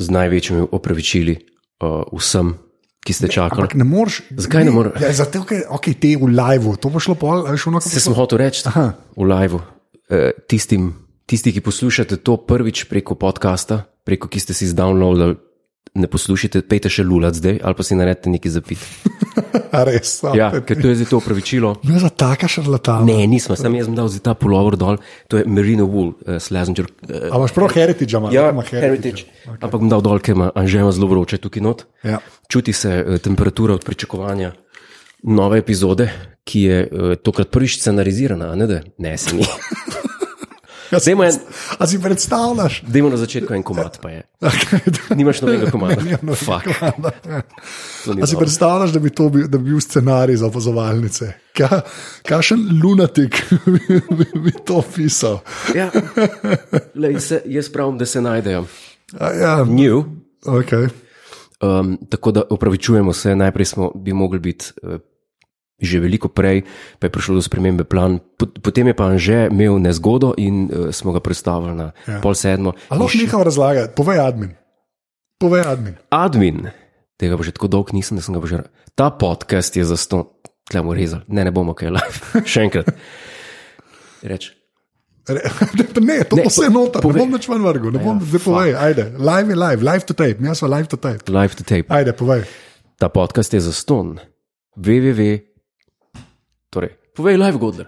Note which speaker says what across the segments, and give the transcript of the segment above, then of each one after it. Speaker 1: z največjimi opravičili uh, vsem, ki ste čakali.
Speaker 2: Ampak ne moreš.
Speaker 1: Zakaj ne moreš?
Speaker 2: Ja, zato, ker okay, te v live, to bo šlo pol, a veš, ono, kako
Speaker 1: Se sem hotel reči
Speaker 2: Aha.
Speaker 1: v live, tistim, tisti, ki poslušate to prvič preko podcasta, preko ki ste si zdownloadili, ne poslušajte, pejte še lulac zdaj ali pa si naredite nekaj zapit.
Speaker 2: A Res. a,
Speaker 1: Ja,
Speaker 2: to je-
Speaker 1: ker to je zdaj to opravičilo.
Speaker 2: Ne za taka šarlatana.
Speaker 1: Ne, nismo, sem jaz sem dal za ta pulover dol, to je Merino Wool, uh, Slazenger. Uh,
Speaker 2: A imaš prav heritage, ali
Speaker 1: ja, Heritage. Okay. Ampak bom dal dol, ker ima Anžema zelo vroče tukaj not.
Speaker 2: Ja.
Speaker 1: Čuti se eh, temperatura od pričakovanja nove epizode, ki je eh, tokrat prvič scenarizirana, a ne da ne se mi.
Speaker 2: Ja, si,
Speaker 1: Dajmo en-
Speaker 2: a si predstavljaš?
Speaker 1: Dajmo na začetku en komat, pa je. Nimaš nobenega komada. Fak, to ni
Speaker 2: Ja, no, A si
Speaker 1: dobro.
Speaker 2: predstavljaš, da bi to bil, da bi bil scenarij za opazovalnice? Ka, kašen lunatik bi, bi, bi to pisal?
Speaker 1: Ja. Lej, se, jaz pravim, da se najdejo.
Speaker 2: A, ja,
Speaker 1: New.
Speaker 2: okay.
Speaker 1: Um, tako da opravičujemo se, najprej smo bi mogli biti uh, že veliko prej, pa je prišlo do spremembe plan. Pot- Potem je pa Anže imel nezgodo in uh, smo ga predstavili na ja. pol sedmo.
Speaker 2: Ali lahko nehal razlagati? Povej admin. Povej admin.
Speaker 1: Admin, tega bo že tako dolg nisem, da sem ga bo že. ra- Ta podcast je za sto, tlemo rezal, ne, ne bomo kaj live. Še enkrat. Reč.
Speaker 2: Re- Ne, to
Speaker 1: Ne,
Speaker 2: bo vse noter, ne
Speaker 1: povej.
Speaker 2: bom več ven vrgel, ne bom
Speaker 1: Ja,
Speaker 2: zdaj povej, ajde, live je live, live to tape, mi smo live to tape.
Speaker 1: Live to tape.
Speaker 2: Ajde, povej.
Speaker 1: Ta podcast je za ston, www. Torej, povej live godler.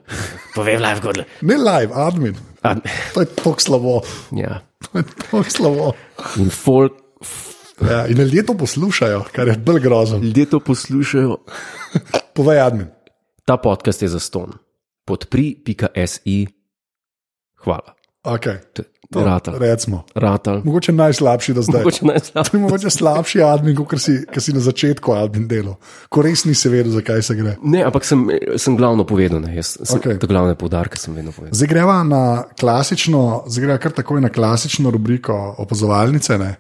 Speaker 1: Povej live godler.
Speaker 2: Ne live, admin,
Speaker 1: Ad,
Speaker 2: to je tako slabo,
Speaker 1: ja.
Speaker 2: to je tako slabo.
Speaker 1: In folk, f-
Speaker 2: Ja, in ljudje to poslušajo, kar je bolj grozno.
Speaker 1: ljudje to poslušajo.
Speaker 2: Povej admin.
Speaker 1: Ta podcast je za ston. Podpri.si. Hvala.
Speaker 2: Okay.
Speaker 1: To je Ratal.
Speaker 2: Recimo.
Speaker 1: Ratal.
Speaker 2: Mogoče najslabši do zdaj.
Speaker 1: Mogoče
Speaker 2: To
Speaker 1: najslabši.
Speaker 2: je mogoče slabši admin, kot si, kar si na začetku admin delal, ko res nisi vedel, zakaj se gre.
Speaker 1: Ne, ampak sem, sem glavno povedal, ne, jaz sem
Speaker 2: Okej.
Speaker 1: okay. te glavne poudarke sem vedno povedal.
Speaker 2: Zdaj greva na klasično, zdaj greva kar takoj na klasično rubriko opazovalnice, ne,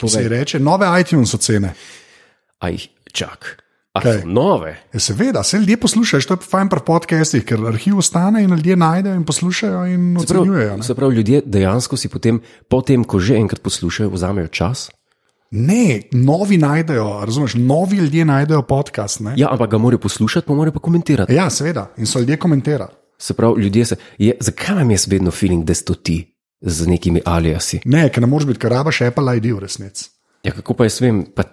Speaker 2: ki se ji reče nove iTunes ocene.
Speaker 1: Aj, čak. A
Speaker 2: Kaj?
Speaker 1: so nove?
Speaker 2: Ja, seveda, se ljudje poslušajo, to je fajn pri podcestih, ker arhiv ostane in ljudje najdejo in poslušajo in ocenjujejo.
Speaker 1: Prav,
Speaker 2: Ne,
Speaker 1: se pravi, ljudje dejansko si potem, potem ko že enkrat poslušajo, vzamejo čas.
Speaker 2: ne novi najdejo, razumeš, novi ljudje najdejo podcast. Ne?
Speaker 1: Ja, ampak ga morajo poslušati, pa morajo pa komentirati.
Speaker 2: Ja, seveda, in so ljudje komentirali.
Speaker 1: Se pravi, ljudje se. Je, zakaj imam jaz vedno feeling, da sto ti z nekimi aliasi?
Speaker 2: Ne, ker ne moreš biti, ker rabaš Apple ID v resnici.
Speaker 1: Ja, kako pa jaz vem, pa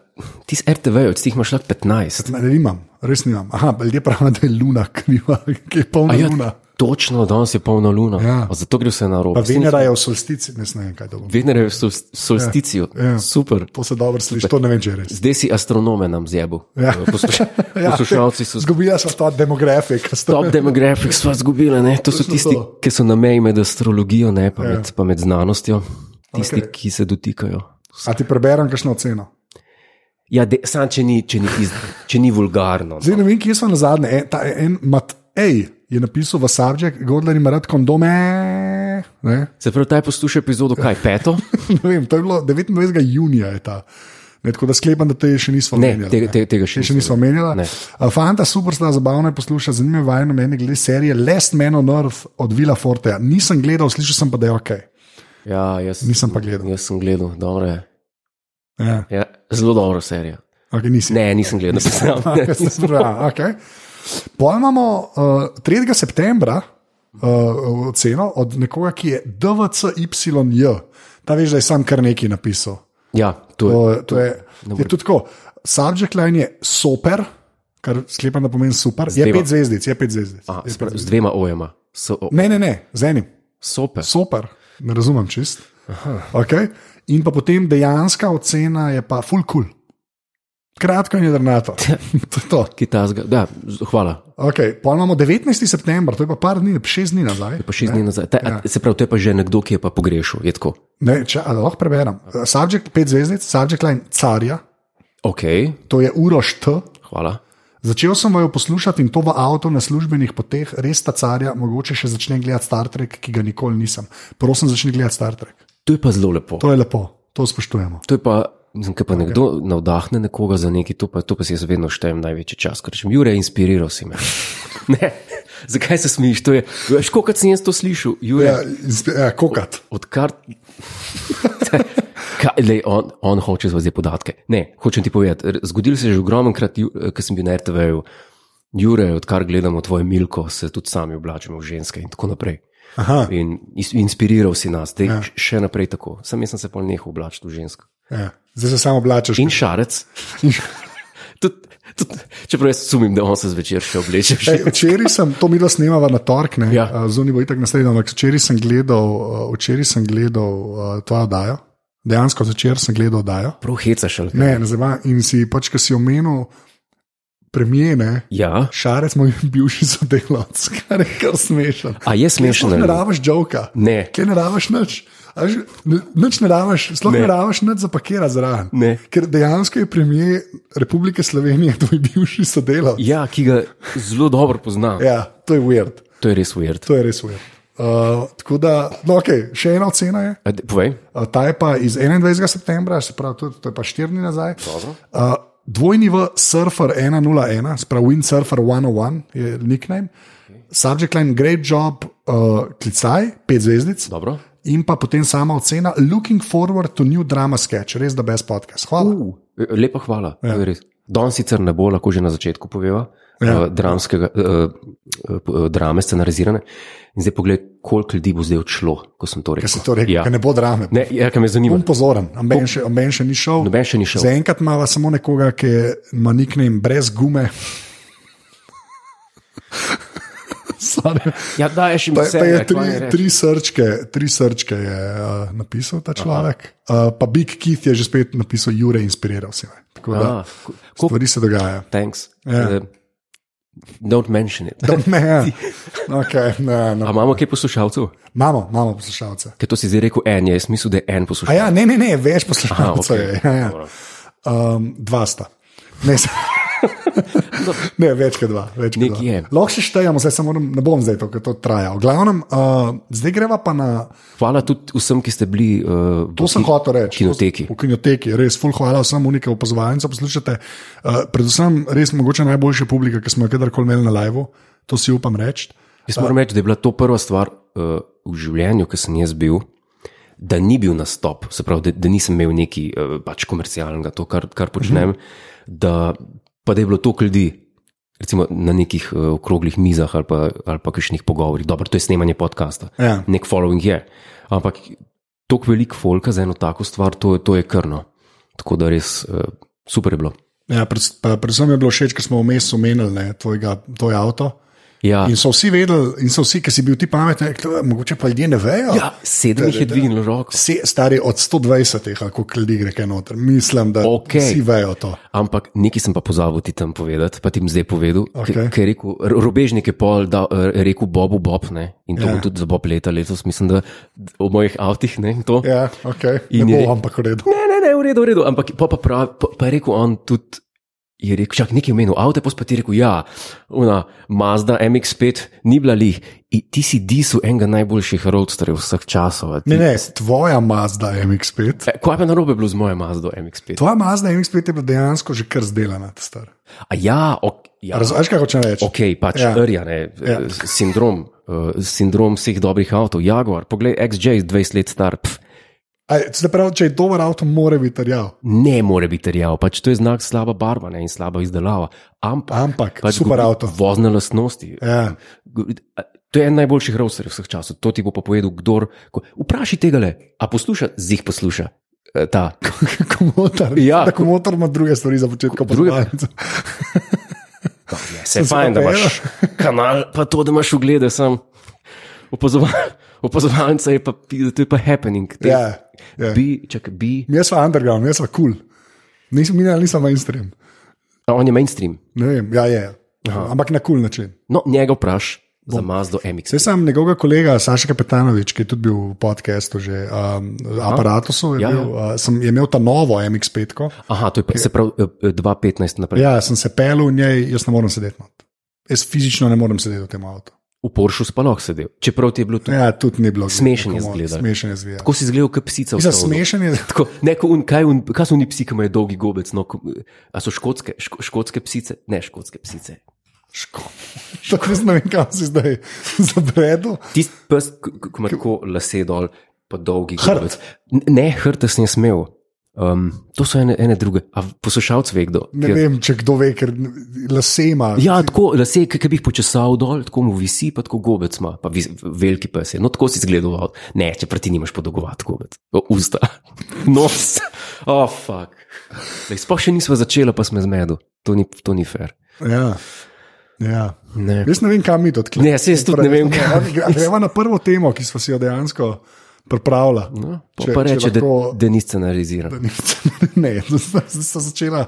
Speaker 1: ti z RTV-jem, ti jih imaš lahko 15.
Speaker 2: Ne, ne imam, res nimam. Aha, ljudje pravijo, da je luna kriva, ki je polna
Speaker 1: Ja,
Speaker 2: luna.
Speaker 1: točno, danes je polna luna.
Speaker 2: Ja.
Speaker 1: A Zato gre vse na robe.
Speaker 2: Pa Venera je v solstici, ne vem, kaj to bo.
Speaker 1: Venera je v sol, solsticijo. Ja,
Speaker 2: ja.
Speaker 1: ja. Super.
Speaker 2: To se dobro sliši, to ne vem, če je res.
Speaker 1: Zdaj si astronome nam zjebu.
Speaker 2: Ja.
Speaker 1: Ja. Posluša,
Speaker 2: Ja,
Speaker 1: poslušalci so
Speaker 2: Zgubila sem ta demografik.
Speaker 1: top demografik, sva izgubila. ne. To so
Speaker 2: Točno
Speaker 1: tisti,
Speaker 2: to.
Speaker 1: ki so na meji med astrologijo, ne pa, ja. med, pa med znanostjo. Tisti,
Speaker 2: Okej.
Speaker 1: okay. ki se dotikajo.
Speaker 2: A ti preberem kakšno oceno?
Speaker 1: Ja, de, sam, če ni, če ni, iz, če ni vulgarno.
Speaker 2: Zdaj ne vem, kje so na zadnje. En, ta, e, en Matej je napisal v Subject, Godler ima rad kondome. Ne?
Speaker 1: Se pravi, taj posluša epizodo, kaj peto?
Speaker 2: ne vem, to je bilo 29. junija. je Ta. Ne, tako da sklepam, da te še nismo
Speaker 1: Ne,
Speaker 2: omenjali.
Speaker 1: tega,
Speaker 2: ne.
Speaker 1: tega, tega še
Speaker 2: Te še
Speaker 1: nisem
Speaker 2: nismo omenjali.
Speaker 1: Ne.
Speaker 2: A, Fanta, super, sta zabavno je poslušati, zanimivo je vajno mnenje glede serije Last Man on Earth od Vila Forteja. Nisem gledal, slišal sem pa, da je ok.
Speaker 1: Ja, jaz,
Speaker 2: Nisem pa gledal.
Speaker 1: Jaz sem gledal, dobro je.
Speaker 2: Ja,
Speaker 1: Ja, zelo dobro serijo.
Speaker 2: okay, nisem.
Speaker 1: Ne, nisem gledal, sem
Speaker 2: Ja, okay. Pojem imamo uh, 3. septembra uh, oceno od nekoga, ki je DVCYJ. Ta veš, da je sam kar nekaj napisal.
Speaker 1: Ja, to je.
Speaker 2: To, je- to je, je tudi tako. Subject line je super, kar sklepam, da pomeni super. Je
Speaker 1: Zdeva.
Speaker 2: pet zvezdic, je pet zvezdic.
Speaker 1: A,
Speaker 2: Je
Speaker 1: se
Speaker 2: pet
Speaker 1: pravi, z dvema ojema, so,
Speaker 2: zvezdic. Ne, ne, ne, z enim.
Speaker 1: sope.
Speaker 2: Super, ne razumem čist. Okay. In pa potem dejanska ocena je pa full cool. Kratko in jedrnato. to je to.
Speaker 1: Kitajska, da, z- hvala.
Speaker 2: Okay, pa imamo 19. september, to je pa par dni, šest dni nazaj.
Speaker 1: Pa šest dni nazaj. Ta, ja. Se pravi, to je pa že nekdo, ki je pa pogrešil. Je tako.
Speaker 2: Ne, če ali lahko preberem. Uh, Subject, pet zvezdic, subject line carja,
Speaker 1: Ok,
Speaker 2: to je uroš T.
Speaker 1: hvala.
Speaker 2: Začel sem jo poslušati in to v avtu na službenih poteh, res ta carja, mogoče še začnem gledati Star Trek, ki ga nikoli nisem. Prosim, začni gledati Star Trek.
Speaker 1: To je pa zelo lepo.
Speaker 2: To je lepo, to spoštujemo.
Speaker 1: To je pa, mislim, ki pa okay. nekdo navdahne nekoga za nekaj, to pa, to pa si jaz vedno štejem največji čas. Ker rečem, Jure, inspiriral si me. ne, zakaj se smijiš? To je, veš, Ja, koliko sem jaz to slišal, Jure.
Speaker 2: Ja, iz- ja, kokat.
Speaker 1: Odkar Kaj, lej, on, on hoče zdaj podatke. Ne, hočem ti povedati. r- Zgodilo se je že ogromnokrat, ju- eh, ko sem bil na RTV-ju, Jure, odkar gledamo tvoje Milko, se tudi sami oblačimo v ženske in tako naprej.
Speaker 2: Aha,
Speaker 1: In is- inspiriral si nas, da je še naprej tako. Sam jaz sem se pa nehal oblačiti v žensko.
Speaker 2: ja. Zdaj se samo oblačeš.
Speaker 1: In šarec. Tud, tud, čeprav jaz sumim, da on se zvečer še obleče. v
Speaker 2: Ej,
Speaker 1: žensko.
Speaker 2: včeraj sem, to mi dva snemava na torek, ne,
Speaker 1: Ja.
Speaker 2: ja. zunaj bo itak naslednji, ampak včeraj sem gledal, uh, včeraj sem gledal uh, to oddajo, dejansko zvečer sem gledal oddajo.
Speaker 1: Prav hecaš. ali kaj?
Speaker 2: Ne, ne zabava. In si pač, ki si omenil premijene,
Speaker 1: Ja,
Speaker 2: šarec moj bivši sodelavec, kar je kar smešen.
Speaker 1: a je smešno.
Speaker 2: Sploh ne
Speaker 1: ali ne?
Speaker 2: rabiš joka,
Speaker 1: Ne.
Speaker 2: kaj ne rabiš nič. A veš, n- Nič ne rabiš, sploh ne,
Speaker 1: Ne.
Speaker 2: ne rabiš nič zapakirati zraven.
Speaker 1: Ne.
Speaker 2: Ker dejansko je premijer Republike Slovenije tvoj bivši sodelavec.
Speaker 1: Ja, ki ga zelo dobro poznam.
Speaker 2: Ja, to je weird.
Speaker 1: To je res ujert.
Speaker 2: To je res ujemno. Uh, tako da, no, okay, še ena ocena je,
Speaker 1: Povej,
Speaker 2: uh, ta je pa iz 21. septembra, se pravi, to, to je pa štiri dni nazaj. Uh, dvojni v Surfer 101, se pravi Windsurfer 101 je nickname, subject line, great job, uh, klicaj, pet zvezdic.
Speaker 1: dobro.
Speaker 2: In pa potem sama ocena, looking forward to new drama sketch, res da brez podcast. Hvala.
Speaker 1: Uh, lepa hvala. Ja. Don sicer ne bo, lahko že na začetku poveva,
Speaker 2: Ja.
Speaker 1: ja. dramskega, eh, eh, drame scenarizirane. In zdaj pogled, koliko ljudi bo zdaj odšlo, ko sem to
Speaker 2: Ker
Speaker 1: rekel.
Speaker 2: si to rekel,
Speaker 1: Ja.
Speaker 2: ja. ker ne bo drame.
Speaker 1: Ne, ja, kar me zanima.
Speaker 2: Bom pozoren, amben še, amben še ni šel.
Speaker 1: Noben še ni šel.
Speaker 2: Zaenkrat imamo samo nekoga, ki ima nickname brez gume. Sorry.
Speaker 1: Ja, da, je še
Speaker 2: Pa, pa je
Speaker 1: vse.
Speaker 2: tri, tri srčke, tri srčke je uh, napisal ta človek. Uh, pa Big Keith je že spet napisal, Jure, inspiriral si me. Tako
Speaker 1: Ah,
Speaker 2: da
Speaker 1: ko,
Speaker 2: stvari se dogajajo.
Speaker 1: thanks.
Speaker 2: Ja.
Speaker 1: Eh, Don't mention it.
Speaker 2: Ne, okay,
Speaker 1: A
Speaker 2: ne, ne.
Speaker 1: imamo kaj poslušalcev?
Speaker 2: Imamo, imamo poslušalce.
Speaker 1: Ker to si zdaj rekel en, jaz mislim, da je en
Speaker 2: A
Speaker 1: poslušalec.
Speaker 2: ja, ne, ne, ne več
Speaker 1: Aha,
Speaker 2: poslušalcev je.
Speaker 1: okej,
Speaker 2: Ja, ja.
Speaker 1: dobro.
Speaker 2: Um, dva sta. Ne, se- ne več kot dva. več kot
Speaker 1: Nek
Speaker 2: dva.
Speaker 1: je.
Speaker 2: Lahko še štejemo, zdaj samo ne bom zdaj to, ker to traja. V glavnem, uh, zdaj greva pa na.
Speaker 1: Hvala tudi vsem, ki ste bili uh,
Speaker 2: To sem hotel reči.
Speaker 1: kinoteki.
Speaker 2: V kinoteki, res, full hvala vsem unikem opazovalnicam, poslušate. Uh, predvsem, res mogoče najboljša publika, ki smo jo kadarkoli imeli na live, to si upam reči.
Speaker 1: Jaz moram reči, da je bila to prva stvar uh, v življenju, ki sem jaz bil, da ni bil nastop, se pravi, da, da nisem imel neki uh, pač komercialnega, to, kar, kar počnem,
Speaker 2: Mhm.
Speaker 1: da, pa da je bilo toliko ljudi. Recimo na nekih uh, okroglih mizah ali pa, ali pa kakšnih pogovorih, dobro, to je snemanje podcasta,
Speaker 2: Ja.
Speaker 1: nek following je. Ampak toliko velik folka za eno tako stvar, to, je- to je krno. Tako da res uh, super je bilo.
Speaker 2: Ja, pred, pa, predvsem mi je bilo všeč, ker smo vmes omenili ne, tvojega, tvoj avto.
Speaker 1: Ja,
Speaker 2: In so vsi vedeli, in so vsi, ki si bil ti pameten, rekli, "Tule, mogoče pa ljudje ne vejo.
Speaker 1: ja sedem jih je dvignilo roko.
Speaker 2: Vse stari od 120, ali koliko ljudi gre kaj noter. Mislim, da
Speaker 1: Okej.
Speaker 2: vsi vejo to.
Speaker 1: Ampak nekaj sem pa pozabil ti tam povedati, pa ti bom zdaj povedal.
Speaker 2: Okej.
Speaker 1: Okay. Ker je rekel, ro- robežnik je pol, da je rekel Bobu Bob, ne? in to
Speaker 2: Ja.
Speaker 1: yeah. bo tudi za Bob leta letos, mislim, da o mojih avtih. Ne, in to.
Speaker 2: Ja, okay. Ne
Speaker 1: In je-
Speaker 2: bo, ampak v redu.
Speaker 1: ne, ne, ne, v redu, v redu. Ampak pa, pa, prav, pa, pa je rekel on tudi. Je rekel, čak nekaj omenil, avto, pa ti je rekel, ja, ona, Mazda MX5 ni bila lih, in ti si disu enega najboljših roadsterjev vseh časov. a ti-
Speaker 2: Ne, ne, tvoja Mazda MX5.
Speaker 1: E, Kaj pa je narobe bilo z mojo Mazdo MX5?
Speaker 2: Tvoja Mazda MX5 je bila dejansko že kar zdelana, ta star.
Speaker 1: A ja, ok, ja.
Speaker 2: Razumeš, kaj hočem reči?
Speaker 1: Ok, pač
Speaker 2: Ja.
Speaker 1: ja. rja, ne, ja. sindrom, uh, sindrom vseh dobrih avtov. Jaguar, poglej, XJ je 20 let star, pf,
Speaker 2: Aj, se pravi, če je dober avto, mora biti rjav.
Speaker 1: ne more biti rjav, pač to je znak slaba barva ne, in slaba izdelava. Ampak,
Speaker 2: Ampak,
Speaker 1: pač
Speaker 2: super
Speaker 1: govori
Speaker 2: avto.
Speaker 1: Vozne lastnosti.
Speaker 2: Ja.
Speaker 1: Govori- a, To je en najboljših roadsterjev vseh časov, to ti bo pa povedal, kdo. Vprašaj tega le, a posluša, zih posluša. eh, Ta.
Speaker 2: Komotor,
Speaker 1: Ja.
Speaker 2: da komotor ima druge stvari za početek, kot
Speaker 1: Druge- Se
Speaker 2: Sem
Speaker 1: je
Speaker 2: se
Speaker 1: fajn, da
Speaker 2: pa
Speaker 1: imaš kanal, pa to, da imaš uglede, sem opazoval- opazovalnica, je pa, pi- to je pa happening. Te-
Speaker 2: Ja, ja.
Speaker 1: Bi, čak, bi,
Speaker 2: Mi smo underground, mi smo kul. Cool. Nisem, mi ne- nisem mainstream.
Speaker 1: a on je mainstream.
Speaker 2: Ne vem, ja, je. Ampak na kul cool način.
Speaker 1: No, njega vpraš za Mazdo MX.
Speaker 2: Zdaj sem njegovega kolega Saša Kapetanovič, ki je tudi bil v podkastu, že um, aparatusu, je,
Speaker 1: Ja,
Speaker 2: ja, bil, uh, sem, je imel ta novo MX5. -ko.
Speaker 1: Aha, to je pa, se pravi eh, eh, 2.15 naprej.
Speaker 2: Ja, sem se pel v njej, jaz ne morem sedeti. Not. Jaz fizično ne morem sedeti v tem avtu.
Speaker 1: V Poršu spaloh sedel, čeprav ti je bilo to.
Speaker 2: Ja, tudi ni bilo.
Speaker 1: Smešen je
Speaker 2: komot,
Speaker 1: izgledal.
Speaker 2: Smešen je zgled.
Speaker 1: Tako si izgledal, kot psica. v
Speaker 2: Za
Speaker 1: stolu.
Speaker 2: smešen je.
Speaker 1: Tako, ne, ko un, kaj, un, kaj so oni psi, ki imajo dolgi gobec? No, ko, a so škotske, ško, škotske psice? Ne, škotske psice.
Speaker 2: Ško- Tako da ne vem, kam si zdaj zabredel.
Speaker 1: Tisti pes, ki ki ima tako lase dol, pa dolgi.
Speaker 2: Hrt.
Speaker 1: gobec. N- Ne, hrtes nisem imel. Um, to so ene, ene druge. A poslušalce ve kdo?
Speaker 2: Ne
Speaker 1: Ker-
Speaker 2: vem, če kdo ve, ker lase ima.
Speaker 1: Ja, tako, da se, ki bi jih počesal dol, tako mu visi, pa tako gobec ima, pa vis, veliki pes je. No, tako si zgledoval. Ne, če prati nimaš podolgovat gobec. O, usta, nos. O, oh, fuck. Lej, Sploh še nismo začeli, pa smo zmedu. To ni, to ni fair.
Speaker 2: Ja. ja.
Speaker 1: Ne.
Speaker 2: Jaz ne vem, kam mi to odkrijemo.
Speaker 1: Ne, saj jaz tudi ne
Speaker 2: Torej,
Speaker 1: vem, kam.
Speaker 2: Gremo na prvo temo, ki smo si jo dejansko pripravili.
Speaker 1: No, pa,
Speaker 2: Če-
Speaker 1: pa
Speaker 2: če
Speaker 1: reče, lahko...
Speaker 2: lahko-
Speaker 1: da, da ni scenariziran.
Speaker 2: ne, zdaj sem začela.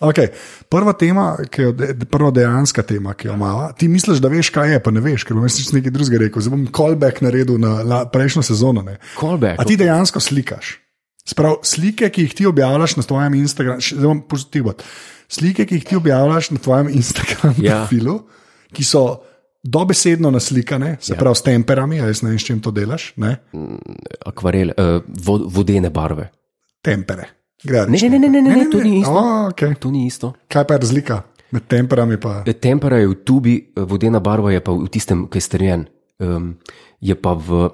Speaker 2: Okay. Prva tema, ki jo, de- prva dejanska tema, ki jo imamo, ti misliš, da veš, kaj je, pa ne veš, ker bom jaz nekaj drugega rekel. Zdaj bom callback naredil na, na prejšnjo sezono. Ne.
Speaker 1: Callback.
Speaker 2: A ti dejansko slikaš? Sprav, slike, ki jih ti objavljaš na svojem Instagramu, še- zdaj bom pozitivno. Slike, ki jih ti objavljaš na svojem Instagramu
Speaker 1: Ja.
Speaker 2: ja. profilu, ki so dobesedno naslikane, se ja. pravi s temperami, a jaz ne vem, s čim to delaš, ne?
Speaker 1: Akvarele, uh, vod, vodene barve.
Speaker 2: tempere. Gre,
Speaker 1: Ne, ne, ne, ne, ne, ne, to ni isto.
Speaker 2: O, okay.
Speaker 1: To ni isto. Eh,
Speaker 2: Kaj pa je razlika med temperami? Pa?
Speaker 1: Tempera je v tubi, eh, vodena barva je pa v tistem, ki je strjen. Um, je pa v,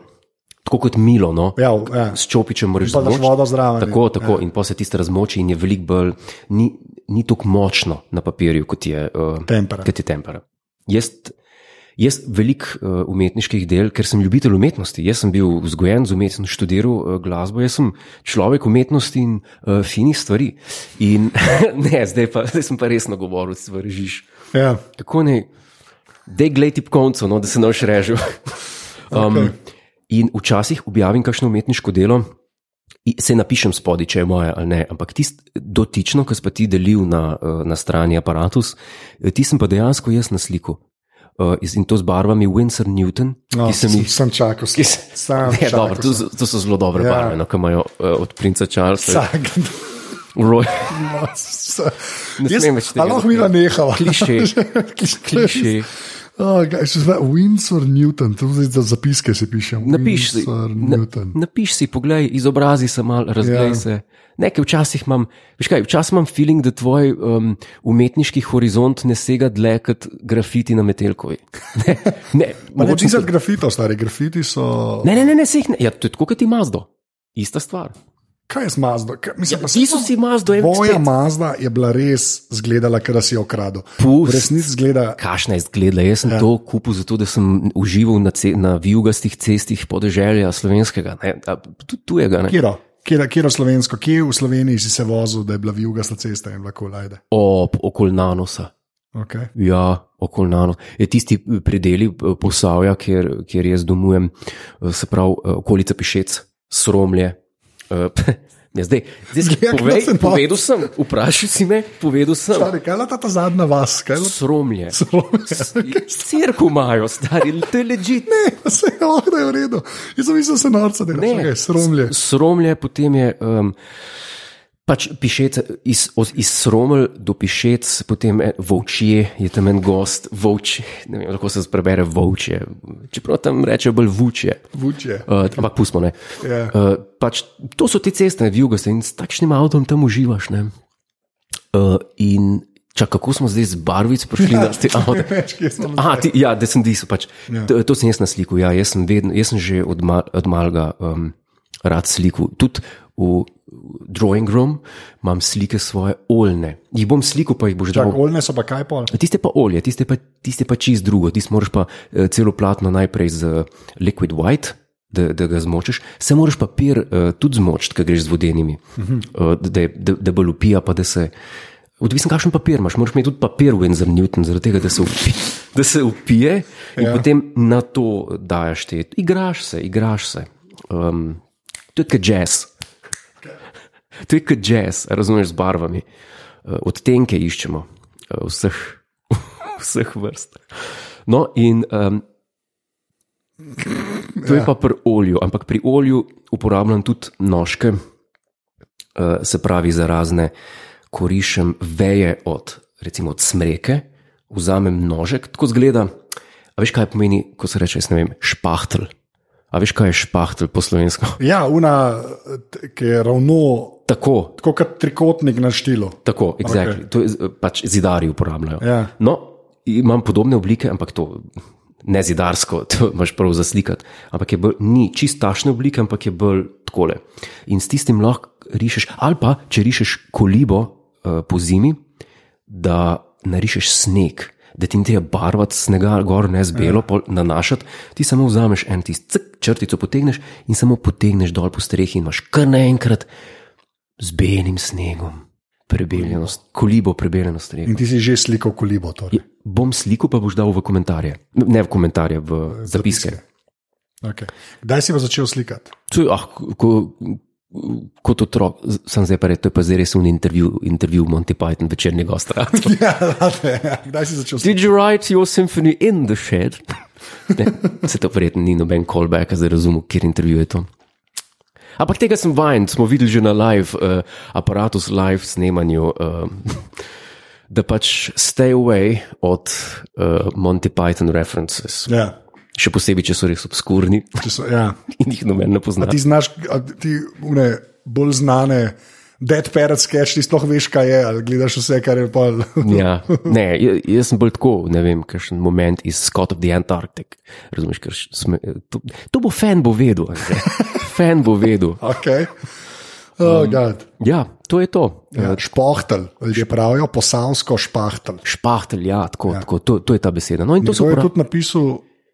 Speaker 1: tako kot milo, no?
Speaker 2: Ja, v- ja.
Speaker 1: s čopičem moraš
Speaker 2: Pa daš
Speaker 1: zmočiti.
Speaker 2: vodo zraven.
Speaker 1: Tako, tako, ja. in pa se tisto razmoči, in je veliko bolj, ni, ni tako močno na papirju, kot je, uh,
Speaker 2: Tempera.
Speaker 1: kot je tempera. Jaz, jaz veliko uh, umetniških del, ker sem ljubitelj umetnosti, jaz sem bil vzgojen z umetnostjo, študiral uh, glasbo, jaz sem človek umetnosti in uh, finih stvari. In ne, zdaj, pa, zdaj sem pa resno govoril, stvržiš.
Speaker 2: Ja.
Speaker 1: Tako ne, da glej ti po koncu, no, da se ne boš režil. Um, okay. In včasih objavim kakšno umetniško delo, in se napišem spodaj, če je moje ali ne, ampak tisto dotično, ki si pa ti delil na, eh, na strani aparatus, eh, ti sem pa dejansko jaz na sliku. Uh, in to z barvami Winsor Newton,
Speaker 2: No,
Speaker 1: ki sem
Speaker 2: sem,
Speaker 1: jih
Speaker 2: sem čakal,
Speaker 1: Ki
Speaker 2: sem,
Speaker 1: se-
Speaker 2: sem
Speaker 1: Ne,
Speaker 2: čakal.
Speaker 1: dobro, to, so- to so zelo dobre
Speaker 2: Ja.
Speaker 1: ja. barve, no, ki imajo uh, od princa Charlesa,
Speaker 2: Vsak,
Speaker 1: Roy,
Speaker 2: no, s-
Speaker 1: Ne
Speaker 2: jaz-
Speaker 1: smem več tega
Speaker 2: a Lahko mi da nehava.
Speaker 1: kliše,
Speaker 2: Kliš-
Speaker 1: kliše.
Speaker 2: Oh, gaj, še zdaj, Windsor Newton, to zdaj za zapiske si pišem.
Speaker 1: Napiš si,
Speaker 2: Windsor
Speaker 1: na,
Speaker 2: Newton.
Speaker 1: napiš si, poglej, izobrazi se malo, razglej ja.
Speaker 2: Ja.
Speaker 1: se. Nekaj včasih imam, veš kaj, včasih imam feeling, da tvoj um, umetniški horizont ne sega dlje kot grafiti na metelkovi. Ne, ne,
Speaker 2: Pa ne
Speaker 1: mogoče
Speaker 2: pisati
Speaker 1: sem-
Speaker 2: grafitov, stari grafiti so.
Speaker 1: ne, ne, ne, ne, sej jih ne. Ja, to je tako, kot ti Mazdo. Ista stvar.
Speaker 2: Kaj je z Mazdo? Kaj, mislim,
Speaker 1: Ja,
Speaker 2: pa
Speaker 1: ti so
Speaker 2: saj-
Speaker 1: si Mazdo, je
Speaker 2: Tvoja
Speaker 1: vse.
Speaker 2: Mazda je bila res zgledala, ker si jo kradel. V
Speaker 1: Pust.
Speaker 2: resnici zgleda.
Speaker 1: Kašna je zgleda? Jaz sem ja. to kupil zato, da sem užival na, ce, na vijugastih cestih podeželja slovenskega, ne, a tudi tujega. Ne.
Speaker 2: Kjero? Kjero, kjero slovensko, kje v Sloveniji si se vozil, da je bila vijugasta cesta in lahko lajde.
Speaker 1: Ob okol nanosa.
Speaker 2: Okay.
Speaker 1: Ja, okolnano. Je tisti predeli eh, Posavja, kjer, kjer jaz domujem, eh, se pravi eh, okolica Pišec, Sromlje. eh, Ja, zdaj, zdaj si
Speaker 2: Zgleda,
Speaker 1: povej,
Speaker 2: da sem pa-
Speaker 1: povedal sem, vprašaj si me, povedal sem.
Speaker 2: Stari, kaj je bila ta, ta zadnja vas, kaj je bila
Speaker 1: Sromlje.
Speaker 2: Slovenija?
Speaker 1: Cirku imajo, stari, to je ležit.
Speaker 2: Vse je lahko da je v redu. Jaz sem mislil, da se norca dela,
Speaker 1: Ne.
Speaker 2: okay, sromlje.
Speaker 1: Sromlje, potem je um, pač pišec, iz, od- iz Sromelj do pišec, potem en- volčje, je tam en gost, volčje, ne vem, kako se prebere volčje, čeprav tam rečejo bolj vučje.
Speaker 2: Vuče.
Speaker 1: Uh, ampak pustimo ne.
Speaker 2: Ja.
Speaker 1: Uh, pač, to so te ceste, vijugaste in s takšnim avtom tam uživaš. ne. Uh, in čak, kako smo zdaj z barvic prišli na te avto?
Speaker 2: Veš, kje smo.
Speaker 1: Aha, ti, ja, da sem diso. Pač.
Speaker 2: Ja.
Speaker 1: To, to sem jaz na sliku. Ja, jaz, sem vedno, jaz sem že od, mal, od malga um, rad sliku. Tudi v drawing room imam slike svoje oljne. Jih bom slikal, pa jih boš dal.
Speaker 2: Oljne so pa kaj pol.
Speaker 1: Tiste pa olje, tiste pa, tiste pa čist drugo, tiste moraš pa eh, celo platno najprej z eh, liquid white. Da, da ga zmočiš, se moraš papir uh, tudi zmočiti, ki greš z vodenimi, uh -huh. uh, da, je- da, da bo lupija, pa da se. Odvisno, kakšen papir imaš, moraš imeti tudi papir v Enzer Newton, zaradi tega, da se, upi, da se upije in ja. potem na to daš te. Igraš se, igraš se. Um, to je kot jazz. To je kot jazz, a razumeš z barvami. Eh, Odtenke iščemo eh, vseh, vseh vrst. No, in um, to je pa pri olju, ampak pri olju uporabljam tudi nožke, eh, se pravi za razne, ko rišem veje od, recimo od smreke, vzamem nožek, tako zgleda. A veš, kaj pomeni, ko se reče, jaz ne vem, špahtl. A veš, kaj je špahtl po slovensko?
Speaker 2: Ja, una, t- ki je ravno,
Speaker 1: Tako,
Speaker 2: tako kot trikotnik na štilu.
Speaker 1: Tako, exactly. okay. to je z- pač zidari uporabljajo.
Speaker 2: Ja.
Speaker 1: No, imam podobne oblike, ampak to nezidarsko, to imaš prav za slikati. Ampak je bolj, ni čist tašne oblike, ampak je bolj takole. In s tistim lahko rišeš, ali pa če rišeš kolibo uh, po zimi, da narišeš sneg. Da ti ne treba barvati snega, gor ne z belo, pol nanašati, ti samo vzameš en tisti črtico, potegneš in samo potegneš dol po strehi, in imaš kar naenkrat z belim snegom, prebeljeno, kolibo prebeljeno streho.
Speaker 2: In ti si že slikal kolibo. Torej.
Speaker 1: Je- Bom sliko pa boš dal v komentarje. Ne v komentarje, v zapiske.
Speaker 2: Okay. Kdaj si pa začel slikati?
Speaker 1: To je, ah, ko, kot otrok, z- sem zdaj pa rekel, to je pa zdaj res un intervju, intervju Monty Python večernega ostra.
Speaker 2: Ja, late, ja. Kdaj si začel slikati?
Speaker 1: Did you write your symphony in the shed? Ne, se to verjetno ni noben callback, zdaj razumem, kjer intervju je to. Ampak tega sem vajen, smo videli že na live, uh, aparatu, live snemanju, uh, da pač stay away od uh, Monty Python references.
Speaker 2: Ja.
Speaker 1: Še posebej, če so res obskurni
Speaker 2: Če So, ja.
Speaker 1: in jih noben ne pozna.
Speaker 2: Ti znaš, a ti une, bolj znane, dead parrot sketch, ti sploh veš, kaj je, ali gledaš vse, kar je pa.
Speaker 1: Ja, ne, j- jaz sem bolj tako, ne vem, kakšen moment iz Scott of the Antarctic. Razumeš, ker š- sme, to, to bo fan bo vedel. Andrej. Fan bo vedel.
Speaker 2: Okay. Oh, God.
Speaker 1: Ja, to je to.
Speaker 2: ja. Špohtel, ljudje pravijo, posavsko špahtel.
Speaker 1: Špahtelj, ja, tako, ja. tako to, to je ta beseda. No, in to
Speaker 2: To
Speaker 1: so
Speaker 2: je
Speaker 1: prav.
Speaker 2: tudi napisal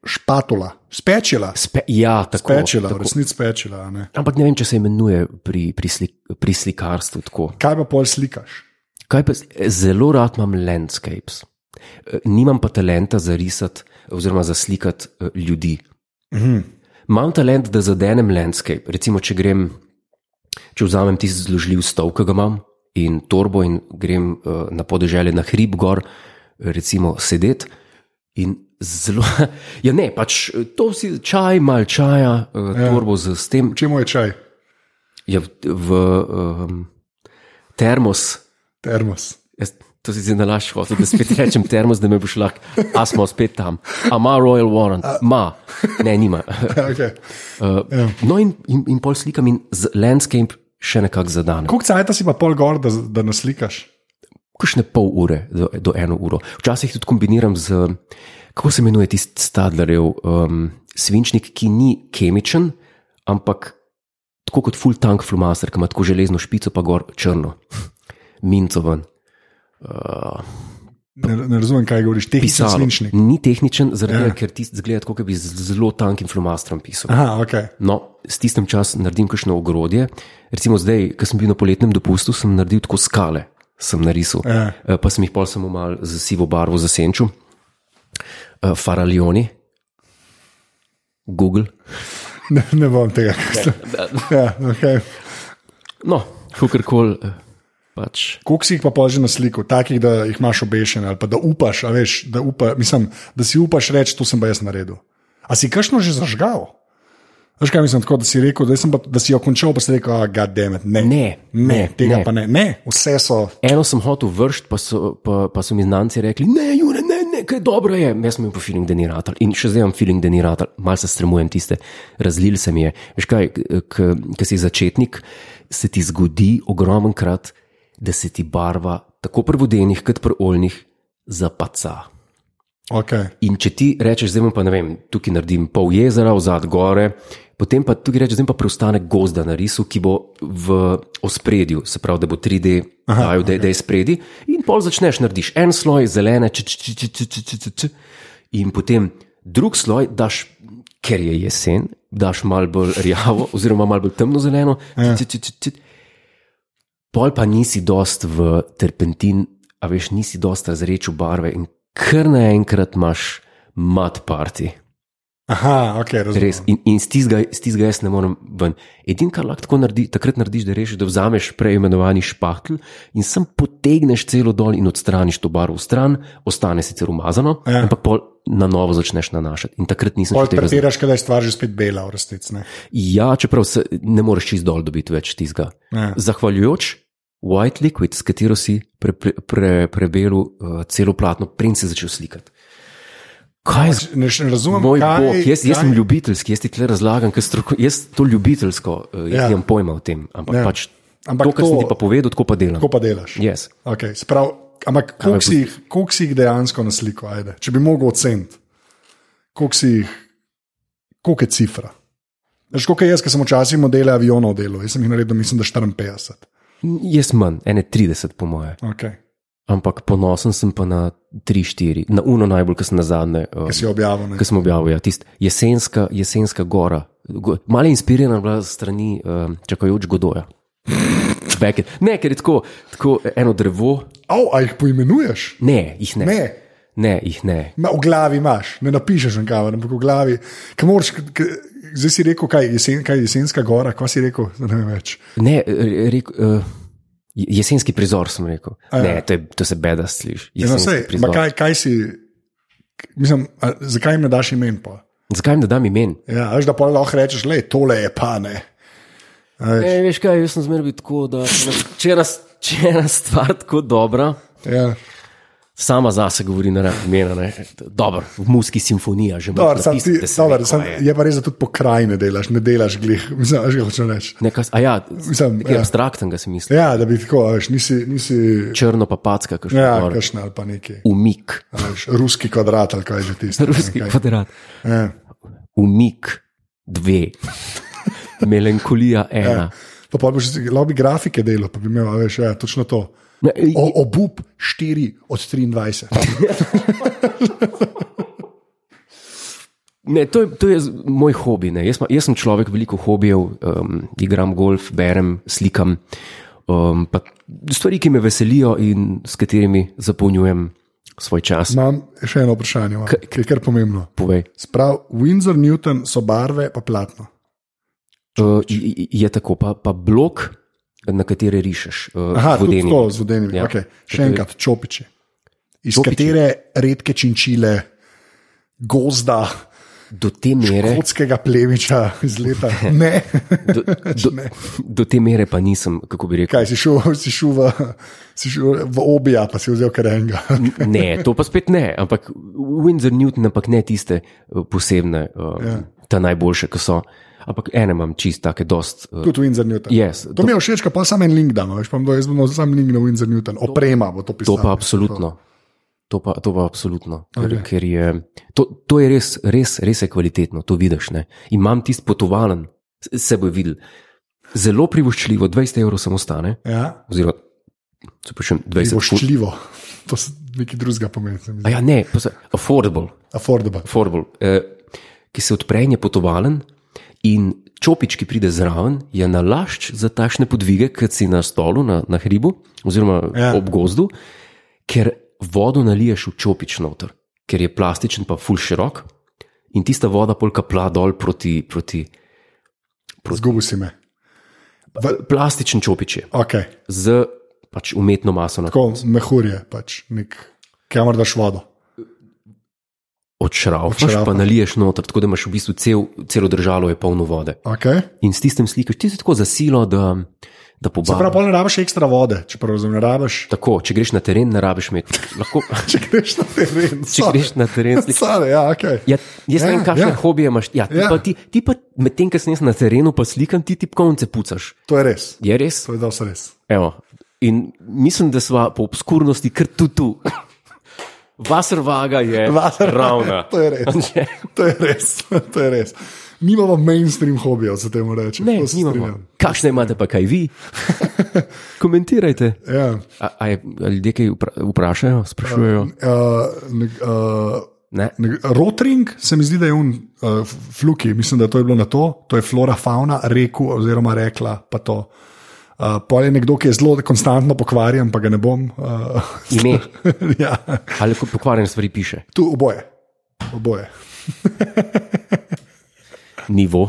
Speaker 2: špatula, spečila,
Speaker 1: Spe, ja, tako.
Speaker 2: spečila, v
Speaker 1: tako.
Speaker 2: resnici spečila. a ne.
Speaker 1: Ampak ne vem, če se imenuje pri, pri, slik, pri slikarstvu tako.
Speaker 2: Kaj pa pol slikaš?
Speaker 1: Kaj pa, s- zelo rad imam landscapes. Eh, Nimam pa talenta za risati, oziroma za slikati eh, ljudi. Imam talent, da zadenem landscape. Recimo, če grem, če vzamem tisti zložljiv stol, ki ga imam, in torbo, in grem uh, na podeželje, na hrib gor, recimo sedeti. In zelo, ja, ne, pač eh, to si čaj, mal čaja, uh, ja. torbo z, s tem,
Speaker 2: V čemu je čaj?
Speaker 1: ja, v, v um, termos.
Speaker 2: Termos.
Speaker 1: Jaz, to si zdaj nalaš, hotel, da spet rečem termos, da me boš lahko, a smo spet tam. A ima Royal Warrant, ima, ne, nima.
Speaker 2: Okay.
Speaker 1: Uh, no, in, in, in pol slikam in z landscape še nekako zadane.
Speaker 2: Kuk cajta si pa pol gor, da, da naslikaš?
Speaker 1: Kakšne pol ure do, do eno uro. Včasih tudi kombiniram z, kako se imenuje tisti stadlerjev um, svinčnik, ki ni kemičen, ampak tako kot full tank flumaster, ki ima tako železno špico, pa gor črno, minco ven.
Speaker 2: Ne, ne razumem, kaj govoriš, tehnični
Speaker 1: pisalo.
Speaker 2: svinčnik. Ja.
Speaker 1: Ni tehničen, zaradi tega, ker ti zgleda, kot bi z zelo tankim flomastrom pisal.
Speaker 2: Aha, okay.
Speaker 1: No, s tistim časom naredim kakšno ogrodje. Recimo zdaj, ko sem bil na poletnem dopustu, sem naredil tako skale, sem narisal,
Speaker 2: Ja.
Speaker 1: Eh, pa sem jih pol samo mal z sivo barvo zasenčil. Eh, Faraljoni, Google.
Speaker 2: ne, ne bom tega. Ja, okay.
Speaker 1: No, kakorkoli. eh, Pač.
Speaker 2: Koliko si jih pa pol že na sliku, takih, da jih imaš obešene ali pa da upaš, a veš, da, upa, mislim, da si upaš reči, to sem pa jaz naredil. A si kakšno že zažgal? Veš kaj mislim, tako da si rekel, da, jaz sem pa, da si jo končal, pa si rekel, ah, gademet, ne.
Speaker 1: Ne,
Speaker 2: ne,
Speaker 1: ne,
Speaker 2: tega
Speaker 1: ne.
Speaker 2: pa ne, ne, vse so.
Speaker 1: Eno sem hotel vršiti, pa so, pa, pa so mi znanci rekli, ne, Jure, ne, ne, kaj dobro je. Jaz sem imel pa feeling, da ni ratal. In še zdaj imam feeling, da ni ratal. Mal se stremujem tiste, razlil se mi je. Veš kaj, ki si začetnik, se ti zgodi ogromen krat, da se ti barva tako pri vodenih, kot pri oljnih zapaca.
Speaker 2: Okay.
Speaker 1: In če ti rečeš, zdaj bom pa ne vem, tukaj naredim pol jezera, vzad gore, potem pa tukaj rečeš, zdaj pa preostane gozda na risu, ki bo v ospredju, se pravi, da bo 3D, Aha, dajo, da, da je spredi. In pol začneš, narediš en sloj zelene, č, č, č, č, č, č, č, č, č, in potem drug sloj daš. Ker je jesen, daš malo bolj rjavo, oziroma malo bolj temno zeleno, č, č, č, č, č, pol pa nisi dost v terpentin, a veš, nisi dost razrečil barve in kar naenkrat imaš mat parti.
Speaker 2: Aha, ok, razumem.
Speaker 1: Res. In, in stisk ga jaz ne morem ven. Edino, kar lahko tako naredi, takrat narediš, da rešiš, da vzameš preimenovani špahtl in sem potegneš celo dol in odstraniš to barvo stran, ostane sicer umazano,
Speaker 2: Ja.
Speaker 1: ja. ampak pol na novo začneš nanašati. In takrat nisem
Speaker 2: Pol
Speaker 1: še tega znal.
Speaker 2: pretiraš, da je stvar že spet bela, v resnici. ne.
Speaker 1: Ja, čeprav se ne moreš čist dol dobiti več tizga.
Speaker 2: Ja.
Speaker 1: Zahvaljujoč White Liquid, s katero si pre, pre, pre, prebelil uh, celo platno, princ si začel slikati. Kaj je
Speaker 2: Ne, še ne razumem,
Speaker 1: moj
Speaker 2: kaj,
Speaker 1: bog? Jaz, jaz sem
Speaker 2: kaj-
Speaker 1: ljubiteljski, jaz ti tle razlagam, ker stroko, jaz to ljubiteljsko, uh, jaz
Speaker 2: Ja.
Speaker 1: ja. nimam pojma o tem. Ampak
Speaker 2: Ja.
Speaker 1: ja. pač
Speaker 2: Ampak
Speaker 1: to, kar sem
Speaker 2: to-
Speaker 1: ti pa povedal, tako pa delam.
Speaker 2: Tako pa delaš.
Speaker 1: Yes.
Speaker 2: Okay, sprav, ampak koliko si, jih- koliko si jih dejansko naslikal, ajde, če bi mogel oceniti? koliko si jih, koliko je cifra. Veš, koliko je jaz, ki sem včasih modele avionov delal, jaz sem jih naredil, mislim, da 54.
Speaker 1: Jaz manj, ene 30, po moje.
Speaker 2: Okay.
Speaker 1: Ampak ponosen sem pa na 3-4, na uno najbolj, ki sem na zadnje. Um,
Speaker 2: Ki si jo objavil. ne.
Speaker 1: Ki sem objavil, ja, tisti jesenska, jesenska gora. Go, Malo je inspirirana bila s strani um, čakajoč Godoja. Back it. Ne, ker je tako, tako eno drevo,
Speaker 2: Au, a jih poimenuješ?
Speaker 1: ne, jih ne.
Speaker 2: Ne.
Speaker 1: ne jih ne.
Speaker 2: Ma, v glavi imaš, ne napišeš nikamor, ampak v glavi. Kaj moraš, k- k- zdaj si rekel, kaj, jesen, kaj jesenska gora, kaj si rekel, Zdaj ne vem več.
Speaker 1: ne re, re, uh, jesenski prizor sem rekel. Ja. Ne, to, je, to se beda sliši.
Speaker 2: Ja, no,
Speaker 1: Jesenski
Speaker 2: sej, ma,
Speaker 1: prizor.
Speaker 2: kaj, kaj si, k- mislim, a, zakaj jim ne daš imen? Pa?
Speaker 1: Zakaj jim ne dam imen?
Speaker 2: Ja, veš, da pa lahko rečeš, le tole je pa ne.
Speaker 1: Ne, veš kaj, jaz sem zmeraj bil tako, da če nas- če je raz, če je ena stvar tako dobra,
Speaker 2: Ja.
Speaker 1: sama zase govori na raven imena. ne. Dobro, v muski simfonija že
Speaker 2: Dobar,
Speaker 1: imaš
Speaker 2: sam ti,
Speaker 1: napisano, da se ve,
Speaker 2: dobar,
Speaker 1: kaj
Speaker 2: sam,
Speaker 1: je.
Speaker 2: je pa res, da tudi pokrajine delaš, ne delaš glih, mislim, veš, kaj hočem reči.
Speaker 1: Nekaj, a ja,
Speaker 2: Mislim,
Speaker 1: nekaj
Speaker 2: ja.
Speaker 1: abstraktnega si misli.
Speaker 2: Ja, da bi tako, a veš, nisi, nisi
Speaker 1: Črno pa packa, kakšno
Speaker 2: ja,
Speaker 1: ja,
Speaker 2: kašna ali pa neki.
Speaker 1: umik,
Speaker 2: a Veš, ruski kvadrat ali kaj že tisto. ne vem
Speaker 1: ruski
Speaker 2: kaj.
Speaker 1: kvadrat,
Speaker 2: Ja.
Speaker 1: umik dve,
Speaker 2: Ja.
Speaker 1: melankolija ena.
Speaker 2: Pa pa bi že lahko bi grafike delal, pa bi imel, a veš, ja, točno to.
Speaker 1: Ne,
Speaker 2: O, obup 4 od 23.
Speaker 1: Ne, to je, to je z- moj hobi. ne. Jaz, ma- jaz sem človek veliko hobijev, um, igram golf, berem, slikam. Um, pa stvari, ki me veselijo in s katerimi zapolnjujem svoj čas.
Speaker 2: Imam še eno vprašanje, imam, ki je kar pomembno.
Speaker 1: Povej,
Speaker 2: Sprav, Windsor, Newton so barve, pa platno.
Speaker 1: uh, je tako, pa, pa blok, na kateri rišeš, uh,
Speaker 2: Aha, tudi
Speaker 1: vodeni.
Speaker 2: tako z vodenimi.
Speaker 1: Ja.
Speaker 2: Ja. Okay. Še enkrat, čopiči. Iz
Speaker 1: Čopiči.
Speaker 2: čopiči. katere redke činčile, gozda,
Speaker 1: Do te mere,
Speaker 2: kotskega plemiča iz leta. Ne,
Speaker 1: do, do, do te mere pa nisem, kako bi rekel.
Speaker 2: kaj si šel, si šel v, si šel v obija, pa si vzel kar enega.
Speaker 1: Ne, to pa spet ne, ampak Windsor Newton, ampak ne tiste uh, posebne, uh, ja. ta najboljše, ki so. Ampak ene imam čist, take dost. Uh,
Speaker 2: Tudi Windsor Newton.
Speaker 1: Yes,
Speaker 2: Ja, To mi je všeč, ko pa samo en link dam, veš, pa bom dal- jaz bom dal sam link na Windsor Newton, oprema bo
Speaker 1: To
Speaker 2: to pisalo.
Speaker 1: pa absolutno. To pa, to pa absolutno. Okay. Ker je, to, to je res, res, res je kvalitetno, to vidiš. Ne? In imam tisti potovalen, s- se bo videl. Zelo privoščljivo, 20 evrov samo stane,
Speaker 2: Ja,
Speaker 1: oziroma če pišem 20 evrov.
Speaker 2: privoščljivo. To je nekaj drugega pomeni. se mi zdi.
Speaker 1: Ja, ne, pa se- affordable,
Speaker 2: Affordable.
Speaker 1: affordable eh, ki se odpre in je potovalen. In čopič, ki pride zraven, je nalašč za takšne podvige, kot si na stolu, na, na hribu, oziroma ja.
Speaker 2: Ja.
Speaker 1: ob gozdu, ker vodo naliješ v čopič noter, ker je plastičen, pa ful širok in tista voda polka pla dol proti. proti.
Speaker 2: Zgubil si me.
Speaker 1: Plastičen čopič je
Speaker 2: Okay.
Speaker 1: z pač umetno maso na
Speaker 2: Tako mehurje, pač nek, kamor daš vodo.
Speaker 1: odšravfaš, pa
Speaker 2: Odšravfaš.
Speaker 1: naliješ noter, tako da imaš v bistvu cel, celo državo je polno vode.
Speaker 2: Okay.
Speaker 1: In s tistem slikaš, ti si tako zasilo, da, da
Speaker 2: Prav,
Speaker 1: pobaviš.
Speaker 2: pol ne rabiš ekstra vode, če prav razumem, ne rabiš.
Speaker 1: Tako, če greš na teren, ne rabiš imeti. Lahko,
Speaker 2: Če greš na teren,
Speaker 1: če greš na teren, slikaš.
Speaker 2: Sade, ja, okay.
Speaker 1: Ja, jaz ne
Speaker 2: Ja,
Speaker 1: vem, kakšne
Speaker 2: ja.
Speaker 1: ja. hobije imaš. Ja, ti, ja.
Speaker 2: Ja.
Speaker 1: Pa, ti, ti pa medtem, ko sem jaz na terenu, pa slikam, ti tipkovnice pucaš.
Speaker 2: To je res,
Speaker 1: Je res?
Speaker 2: to je dosti res.
Speaker 1: Evo. In mislim, da smo po obskurnosti kar tu tu. Vasrvaga je
Speaker 2: Vasar-
Speaker 1: ravna.
Speaker 2: To je res.
Speaker 1: Anže,
Speaker 2: To je res, to je res. Nimamo mainstream hobijev, se temu reče.
Speaker 1: Ne,
Speaker 2: To se
Speaker 1: nimamo.
Speaker 2: strinjam.
Speaker 1: Kakšne imate pa kaj vi? Komentirajte.
Speaker 2: Ja.
Speaker 1: A, a, je, a ljudje kaj vpra- vprašajo, sprašujejo?
Speaker 2: Uh, nek, uh,
Speaker 1: Ne.
Speaker 2: nek, Rotring, se mi zdi, da je un uh, fluki, mislim, da to je bilo na to, to je flora, fauna, reku, oziroma rekla, pa to. Uh, Pol je nekdo, ki je zelo konstantno pokvarjen, pa ga ne bom. Uh,
Speaker 1: Ime.
Speaker 2: ja,
Speaker 1: Ali kot pokvarjene stvari piše?
Speaker 2: tu oboje. oboje.
Speaker 1: Nivo.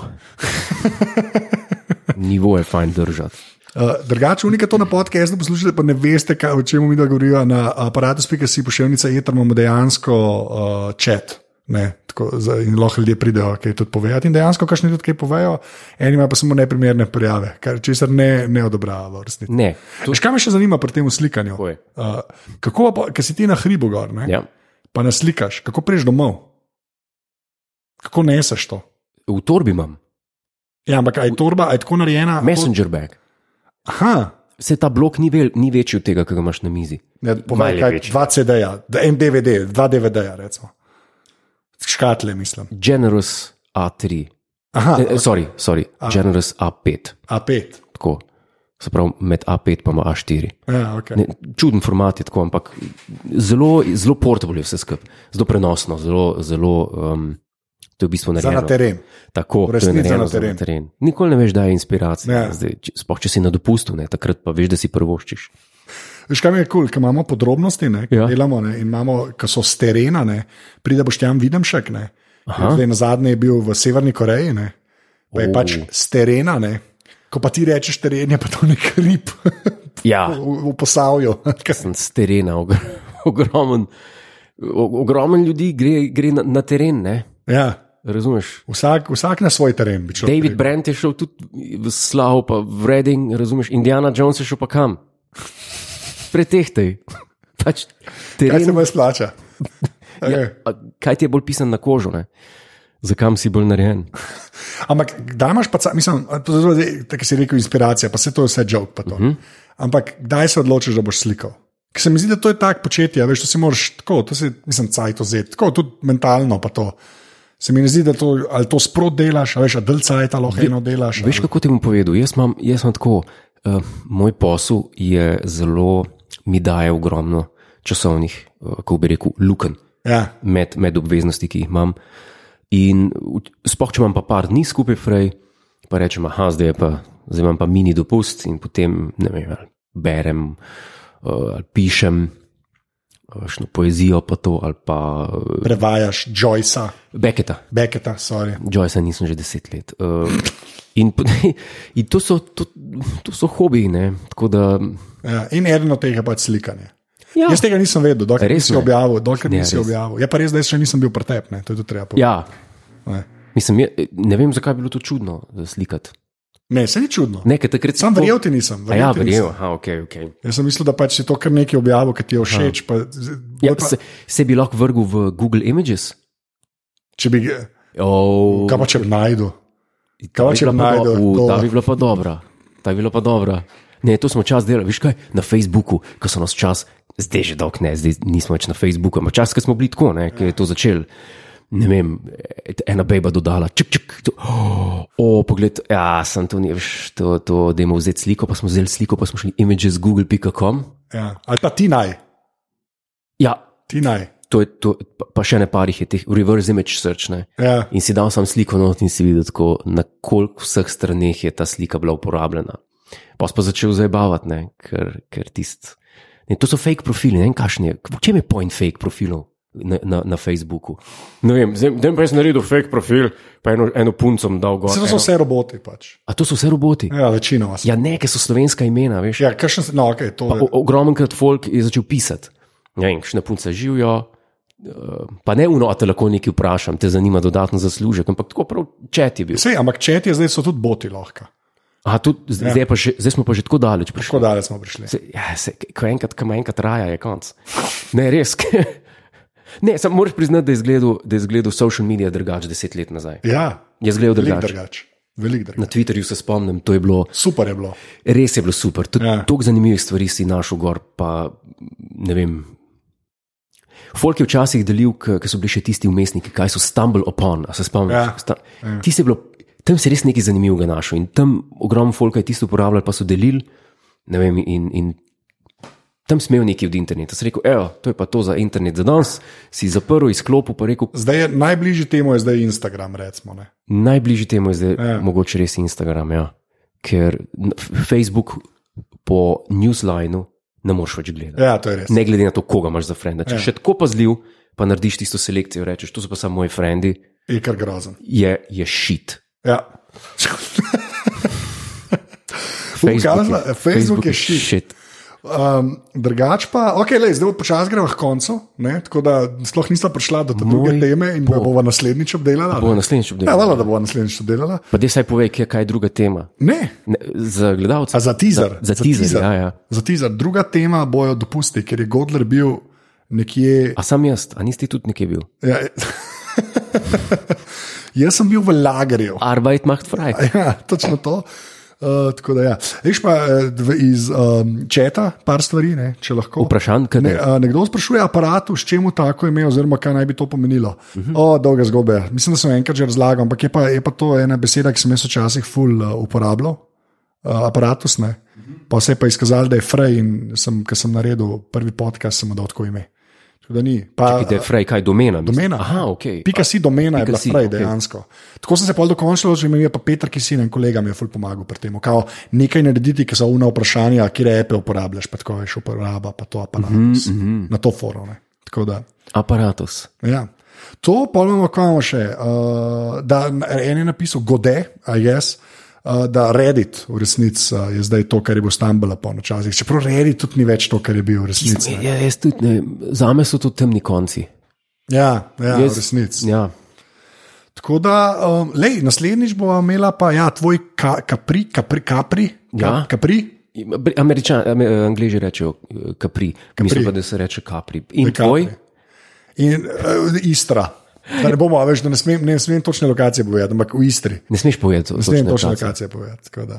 Speaker 1: Nivo je fajn držati.
Speaker 2: Uh, drugače, unika to na podkastu poslušate, pa ne veste, kaj, o čem mi govorimo. Na aparatu.si pošiljnica eter imamo dejansko uh, čat. Ne, tako, za- in lahko ljudje pridejo, kaj tudi povejo. In dejansko, kakšni ljudje kaj povejo, eni imajo pa samo neprimerne prijave, kar česar ne, ne odobrava v resnici.
Speaker 1: Ne, to
Speaker 2: Še kaj me še zanima pri tem slikanju?
Speaker 1: Povej.
Speaker 2: Uh, kako pa, ker si ti na hribu gor, ne,
Speaker 1: ja.
Speaker 2: pa naslikaš, kako prejš domov? Kako neseš to?
Speaker 1: V torbi imam,
Speaker 2: Ja, ampak aj torba, aj tako narejena.
Speaker 1: messenger bag.
Speaker 2: Aha,
Speaker 1: Vse ta blok ni, vel, ni večji od tega, kar ga imaš na mizi.
Speaker 2: Ne, povej,
Speaker 1: Malo je
Speaker 2: kaj,
Speaker 1: večji.
Speaker 2: dva CD-ja, da- en DVD, dva DVD-ja. recimo. Škatle, mislim.
Speaker 1: Generous A3.
Speaker 2: Aha,
Speaker 1: Ne, eh, sorry, sorry. Generous A5.
Speaker 2: A5.
Speaker 1: Tako. Se pravi, med A5 pa ima A4.
Speaker 2: Ja, okay.
Speaker 1: Ne, čuden format je tako, ampak zelo, zelo portable je vse skupaj, zelo prenosno, zelo. zelo um, to je v bistvu
Speaker 2: Za
Speaker 1: narejeno.
Speaker 2: na teren.
Speaker 1: Tako,
Speaker 2: V
Speaker 1: to je
Speaker 2: resnici
Speaker 1: narejeno
Speaker 2: na
Speaker 1: za na
Speaker 2: teren.
Speaker 1: teren. Nikoli ne veš, da je inspiracija.
Speaker 2: Ja.
Speaker 1: Zdaj, če- Sploh če si na dopustu, ne, takrat pa veš, da si prvoščiš.
Speaker 2: Veš, kaj mi je kul, cool, ker imamo podrobnosti, ne, ja.
Speaker 1: Ja.
Speaker 2: delamo, ne, in imamo, ki so s terena, ne, pride boš tam vidim še kaj.
Speaker 1: Aha.
Speaker 2: Zdaj na zadnje je bil v Severni Koreji, ne, pa je
Speaker 1: Oh.
Speaker 2: pač s terena. Ne, ko pa ti rečeš teren, je pa to nek rib
Speaker 1: Ja,
Speaker 2: v, v posavju.
Speaker 1: sem s terena, og- ogromen, o- ogromen ljudi gre, gre na, na teren. Ne?
Speaker 2: ja,
Speaker 1: Razumeš?
Speaker 2: vsak, vsak na svoj teren. bi človek
Speaker 1: David
Speaker 2: rekel.
Speaker 1: Brent je šel tudi v Slavu, pa v Reading, razumeš? Indiana Jones je šel pa kam? Pretehtaj. Pač
Speaker 2: Kaj se
Speaker 1: teren,
Speaker 2: mu splača?
Speaker 1: ja, a kaj ti je bolj pisan na kožo? Ne? Zakam si bolj narejen?
Speaker 2: Ampak, da imaš pa, ca- mislim, pozor, zdaj, tako si rekel, inspiracija, pa se to je vse žog. Uh -huh. Ampak, kdaj se odločiš, da boš slikal? Ker se mi zdi, da to je tako početje, a veš, to si moraš tako, to si, mislim, cajt vzeti, tako tudi mentalno pa to. Se mi ne zdi, da to, ali to sprot delaš, a veš, a del cajt ali lahko eno delaš.
Speaker 1: Veš, kako ti bom povedal? Jaz imam, jaz imam tako, uh, moj posel je zelo, mi daje ogromno časovnih, uh, kako bi rekel, lukenj.
Speaker 2: ali- Ja,
Speaker 1: med, med obveznosti, ki jih imam. In spoh, če imam pa par dni skupaj, frej, pa rečem, ah, zdaj, je pa, zdaj imam pa mini dopust in potem ne vem, ali berem, eh, ali pišem. Šno poezijo, pa to, ali pa eh,
Speaker 2: prevajaš Joycea,
Speaker 1: Becketa,
Speaker 2: Becketa, sorry.
Speaker 1: Joyce, nisem že deset let. Eh, In, pot- in to so, to, to so hobiji, ne, tako da.
Speaker 2: Ja, in eno od tega je pač slikanje.
Speaker 1: Ja,
Speaker 2: Jaz tega nisem vedel, dokler
Speaker 1: Res
Speaker 2: nisi
Speaker 1: ne.
Speaker 2: objavil, dokler
Speaker 1: Ne,
Speaker 2: nisi
Speaker 1: res.
Speaker 2: objavil. Je pa res, da jaz še nisem bil pretep, ne, to je tudi treba povedati.
Speaker 1: ja,
Speaker 2: Ne.
Speaker 1: mislim, je, ne vem, zakaj je bilo to čudno eh, slikati.
Speaker 2: Ne, se ni čudno.
Speaker 1: Nekaj takrat si
Speaker 2: Sam
Speaker 1: tako-
Speaker 2: verjel ti nisem.
Speaker 1: A Ja,
Speaker 2: ti nisem.
Speaker 1: verjel, aha, ok, ok.
Speaker 2: Jaz sem mislil, da pač si to kar nekaj objavil, ki ti je všeč. Pa, z-
Speaker 1: Ja,
Speaker 2: bolj pa,
Speaker 1: se, se bi lahko vrgel v Google Images.
Speaker 2: če bi,
Speaker 1: Oh,
Speaker 2: kaj pa če bi najdel?
Speaker 1: ta
Speaker 2: pa če bi našel to?
Speaker 1: Ta bi bila pa dobra. Ta bi bila pa dobra. Ne, to smo čas delali, veš kaj, na Facebooku, ko so nas čas, zdaj že dolg ne, zdaj nismo več na Facebooku, ampak čas, ko smo bili tako, ne, ki je to začel. Ne vem, ena beba dodala, čik, čik, to, oh, oh, pogled, ja, sem to, ne veš, to, to, da imamo vzeti sliko, pa smo vzeli sliko, pa smo šli images google.com.
Speaker 2: Ja. Ali pa ti naj,
Speaker 1: Ja,
Speaker 2: ti naj.
Speaker 1: to je to, pa- pa še ne parih je teh reverse image search, ne.
Speaker 2: Ja.
Speaker 1: In si dal sam sliko not in si videl, tako, na koliko vseh straneh je ta slika bila uporabljena. Pa si pa začel zabavati, ne, ker, ker tisti. Ne, to so fake profili, ne vem, kakšen je. V čem je point fake profilov na, na, na Facebooku? Ne vem, zdaj pa sem naredil fake profil, pa eno, eno punco sem dal gor.
Speaker 2: Vse to
Speaker 1: eno-
Speaker 2: so vse roboti. Pač.
Speaker 1: A to so vse roboti?
Speaker 2: Ja, večinoma. so.
Speaker 1: Ja, ne, ker so slovenska imena, veš.
Speaker 2: Ja, kakšen se, no, okay, to je.
Speaker 1: O- Ogromen krat folk je začel pisati. Ne vem, kakšne punce živijo. eh, Pa ne uno, a te lahko nekaj vprašam, te zanima dodatno zaslužek, ampak tako prav čet je bil.
Speaker 2: Sej, ampak če ti je zdaj, so tudi boti lahko.
Speaker 1: Aha, tudi, zdaj, zdaj, pa že, zdaj smo pa že tako daleč
Speaker 2: Ja. Tako
Speaker 1: prišli.
Speaker 2: dalje smo prišli.
Speaker 1: Se, ja, se, ko enkrat, ko enkrat traja, je konc. Ne, res. ne, samo moraš priznati, da je izgledal, da je izgledal social media drugače deset let nazaj.
Speaker 2: Ja,
Speaker 1: Je izgledal
Speaker 2: velik
Speaker 1: drugače.
Speaker 2: drugač. Velik drugač.
Speaker 1: Na Twitterju se spomnim, to je bilo,
Speaker 2: Super je bilo.
Speaker 1: res je bilo super. Tudi
Speaker 2: Ja.
Speaker 1: ja. toliko zanimivih stvari si našel gor, pa ne vem. Folk je včasih delil, ker so bili še tisti umestniki, kaj so stumble upon, a se spomniš?
Speaker 2: Ja.
Speaker 1: Sta, ti si bilo, tam si res nekaj zanimivega našel in tam ogromno folka je tisto uporabljal, pa so delili, ne vem, in, in tam smel nekaj od interneta. Sem rekel, evo, to je pa to za internet za danes, si zaprl, izklopil, pa rekel,
Speaker 2: Zdaj je najbližji temu je zdaj Instagram, recimo. Ne.
Speaker 1: Najbližje temu je zdaj
Speaker 2: Ja.
Speaker 1: ja. mogoče res Instagram, ja. ker n- f- Facebook po newslineu ne moreš več gledati.
Speaker 2: Ja, to je res.
Speaker 1: Ne glede na to, koga imaš za frenda. Če ja. še tako pazljiv, pa narediš tisto selekcijo, rečeš, to so pa samo moji frendi,
Speaker 2: Je kar grozen.
Speaker 1: je, je shit.
Speaker 2: Ja. Ukazala- eh, Facebook je shit.
Speaker 1: shit.
Speaker 2: Um, drugač pa, okay, lej, zdaj počasi gremo k koncu, ne, tako da sploh nismo prišla do te druge teme in bo. bova naslednjič obdelala.
Speaker 1: Bo
Speaker 2: ne.
Speaker 1: naslednjič
Speaker 2: Ja,
Speaker 1: obdelal.
Speaker 2: hvala, da bova naslednjič obdelala.
Speaker 1: Pa dej saj povej, kje- kaj je druga tema.
Speaker 2: Ne,
Speaker 1: Ne, za gledalce.
Speaker 2: a za teaser.
Speaker 1: Za, za teaser, ja, ja.
Speaker 2: Za teaser. Druga tema bojo dopusti, ker je Godler bil nekje.
Speaker 1: A sam jaz, a nisi ti tudi nekje bil?
Speaker 2: Ja, jaz sem bil v lagerju.
Speaker 1: Arbeit macht frei.
Speaker 2: Ja, točno to. Uh, tako da, ja. Veš pa eh, iz um, četa, par stvari, ne, če lahko.
Speaker 1: Vprašanj, kaj
Speaker 2: Ne,
Speaker 1: ne.
Speaker 2: a, nekdo sprašuje aparatu, s čemu tako ime, oziroma kaj naj bi to pomenilo. Uh -huh. O, dolge zgodbe. Mislim, da sem enkrat že razlagal, ampak je pa, je pa to ena beseda, ki sem jaz včasih ful uh, uporabljal. Uh, aparatus ne. Pa se je pa izkazalo, da je Frey in sem, ker sem naredil prvi podcast, sem mu dal tako ime. Tako da ni. Pa,
Speaker 1: Ide frej, kaj domena. mislim?
Speaker 2: Domena.
Speaker 1: Aha, ok.
Speaker 2: Pika si domena
Speaker 1: Pika
Speaker 2: je bila
Speaker 1: si,
Speaker 2: prej,
Speaker 1: ok.
Speaker 2: okay. dejansko. Tako sem se pol dokončal, že mi je pa Petr Kisin, en kolega mi je ful pomagal pri tem. Kao, nekaj narediti, ki so umna vprašanja, kje repe uporabljaš, pa tako veš, uporaba, pa to aparat.
Speaker 1: Mhm,
Speaker 2: Mm -hmm. Na to foro. Ne. Tako da.
Speaker 1: Aparatus.
Speaker 2: Ja. To pa imamo, ko imamo še. Uh, da, en je napisal, gode, a jaz. Uh, da Reddit v resnici uh, je zdaj to, kar je bil Stambula po nočasih. Čeprav Reddit tudi ni več to, kar je bil v resnici. ne.
Speaker 1: Ja, jaz tudi ne. Zame so to temni konci.
Speaker 2: Ja, ja
Speaker 1: Jaz-
Speaker 2: v resnici.
Speaker 1: Ja.
Speaker 2: Tako da, um, lej, naslednjič bo imela pa ja, tvoj ka, kapri, kapri, kapri,
Speaker 1: Ja.
Speaker 2: ja. kapri.
Speaker 1: Br- Američan, am- angliži rečejo eh, kapri, kapri. mislim pa, da se reče kapri. In
Speaker 2: Kapri.
Speaker 1: tvoj?
Speaker 2: In uh, Istra. Da ne bomo več, da ne smem, ne smem točne lokacije povedati, ampak v Istri.
Speaker 1: Ne smeš povedati,
Speaker 2: Ne smem
Speaker 1: točno
Speaker 2: točne
Speaker 1: kaj.
Speaker 2: lokacije povedati. tako da.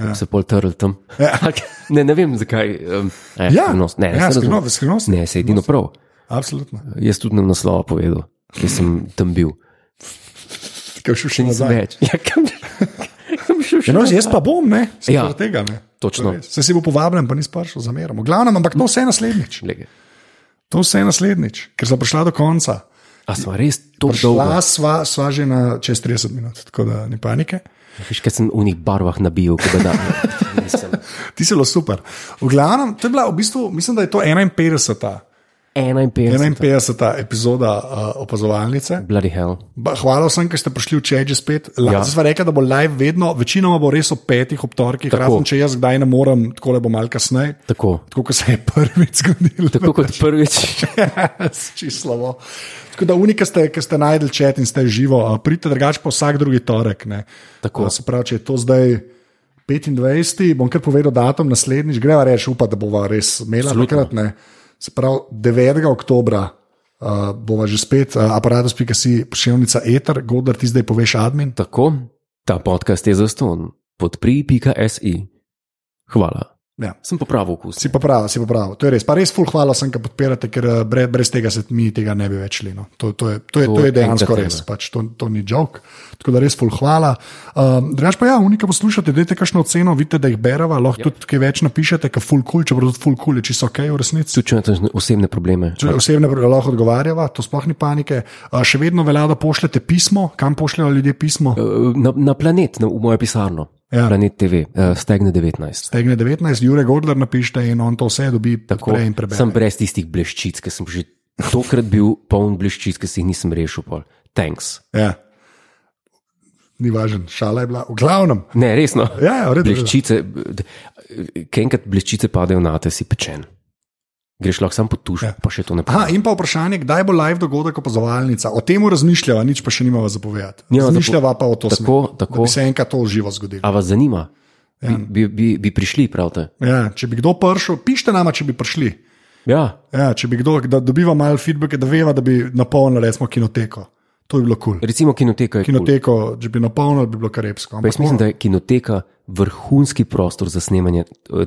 Speaker 1: Ja. Se pol trl tam.
Speaker 2: Ja.
Speaker 1: ne, ne vem, zakaj. Um, eh,
Speaker 2: Ja.
Speaker 1: skrivnost. ne,
Speaker 2: Ja,
Speaker 1: se razumem.
Speaker 2: skrivnost, skrivnost.
Speaker 1: Ne, se je edino prav.
Speaker 2: Absolutno.
Speaker 1: Jaz tudi ne bom naslova povedal, ker sem tam bil.
Speaker 2: Kaj še še
Speaker 1: Nisem
Speaker 2: nazaj.
Speaker 1: več. Ja, kam, kam šel še?
Speaker 2: Ja, no, jaz pa bom, ne, se
Speaker 1: Ja.
Speaker 2: ja. tega ne.
Speaker 1: Točno.
Speaker 2: Se si bo povabljen, pa nisi prišel, zameramo. Glavno, ampak to vse naslednjič.
Speaker 1: Glej,
Speaker 2: To vse naslednjič, ker sem prišla do konca.
Speaker 1: A smo res to dolgo?
Speaker 2: Šla sva, sva že na čez 30 minut, tako da ni panike.
Speaker 1: Veš, kaj sem v njih barvah nabil, ko da. Nisem.
Speaker 2: Ti si bilo super. V glavnem, to je bila v bistvu, mislim, da je to 51.
Speaker 1: 51.
Speaker 2: 51. epizoda uh, opazovalnice.
Speaker 1: Bloody hell.
Speaker 2: Ba, Hvala vsem, ki ste prišli včeraj že spet.
Speaker 1: Ja.
Speaker 2: Ja. Zdaj smo rekli, da bo live vedno, večinoma bo res ob petih, ob torkih,
Speaker 1: Tako.
Speaker 2: razen če jaz kdaj ne morem, tako le bo malce kasneje.
Speaker 1: Tako.
Speaker 2: Tako kot se je prvič zgodilo.
Speaker 1: Tako kot prvič.
Speaker 2: Čislavo. Tako da unika ste, ki ste najdel čet in ste živo, pridite drugače pa vsak drugi torek. ne.
Speaker 1: Tako.
Speaker 2: A, Se pravi, če je to zdaj 25, bom kar povedal datum naslednjič, greva reči, upa, da bova res imela takrat. ne. Se pravi, 9. oktobra. Uh, bova že spet, uh, aparatus.si, pošiljnica Eter, Godar, ti zdaj poveš admin.
Speaker 1: Tako, ta podcast je zaston. Podpri.si. Hvala.
Speaker 2: Ja.
Speaker 1: Sem popravil okus.
Speaker 2: Si pa prav, si pa prav, to je res. Pa res, ful, hvala vsem, ki podpirate, ker eh, bre- brez tega se mi tega ne bi več šli. No. To, to, je, to, je,
Speaker 1: To
Speaker 2: to je
Speaker 1: je
Speaker 2: dejansko
Speaker 1: enkrat
Speaker 2: res, pač, to, to ni žog. Tako da res, ful, hvala. Um, Drugač pa ja, unika poslušate, dajte kakšno oceno, vidite, da jih berava, lahko yep. tudi kaj več napišete, ker ful kul, cool, čeprav tudi ful kul cool, je čisto ok v resnici.
Speaker 1: Tudi če imate osebne probleme.
Speaker 2: Če osebne lahko odgovarjava, to sploh ni panike. Uh, še vedno velja, da pošljete pismo, kam pošljajo ljudje pismo.
Speaker 1: Eh. Na, na planet, na, v mojo pisarno, ja.
Speaker 2: Ja.
Speaker 1: planet TV, uh, stegne 19.
Speaker 2: Stegne 19, Jurek Godler napišete in on to vse dobi
Speaker 1: Tako,
Speaker 2: prej in prebere.
Speaker 1: sem brez tistih bleščic, ki sem že tokrat bil poln bleščic, ki si jih nisem rešil. Pol. Thanks.
Speaker 2: Ja. Ni važno, šala je bila, v glavnem.
Speaker 1: Ne, resno.
Speaker 2: Ja, ja, v redu, v redu.
Speaker 1: Bleščice, eh, ker enkrat bleščice padejo na te, si pečen. Greš lahko samo po tuš, ja.
Speaker 2: Ja.
Speaker 1: pa še to ne
Speaker 2: Aha,
Speaker 1: pomeni.
Speaker 2: in pa vprašanje, kdaj bo live dogodek opazovalnica. O tem razmišljava, nič pa še nimava zapovedati.
Speaker 1: Nimava
Speaker 2: Razmišljava pa o to,
Speaker 1: Tako,
Speaker 2: smer,
Speaker 1: tako.
Speaker 2: da bi se enkrat to živo zgodilo.
Speaker 1: A vas zanima? Ja. Bi, bi, bi, bi prišli, pravite?
Speaker 2: Ja, če bi kdo prišel, pišite nama, če bi prišli.
Speaker 1: Ja,
Speaker 2: Ja, če bi kdo, da dobiva malo feedbacka, da veva, da bi napolnili recimo kinoteko. To bi bilo kul. Cool.
Speaker 1: recimo kinoteka je kinoteka.
Speaker 2: Kinoteko, če bi napolnili, bi bilo karepsko.
Speaker 1: Cool.
Speaker 2: Ampak
Speaker 1: Jaz mislim, da je kinoteka vrhunski prostor za snemanje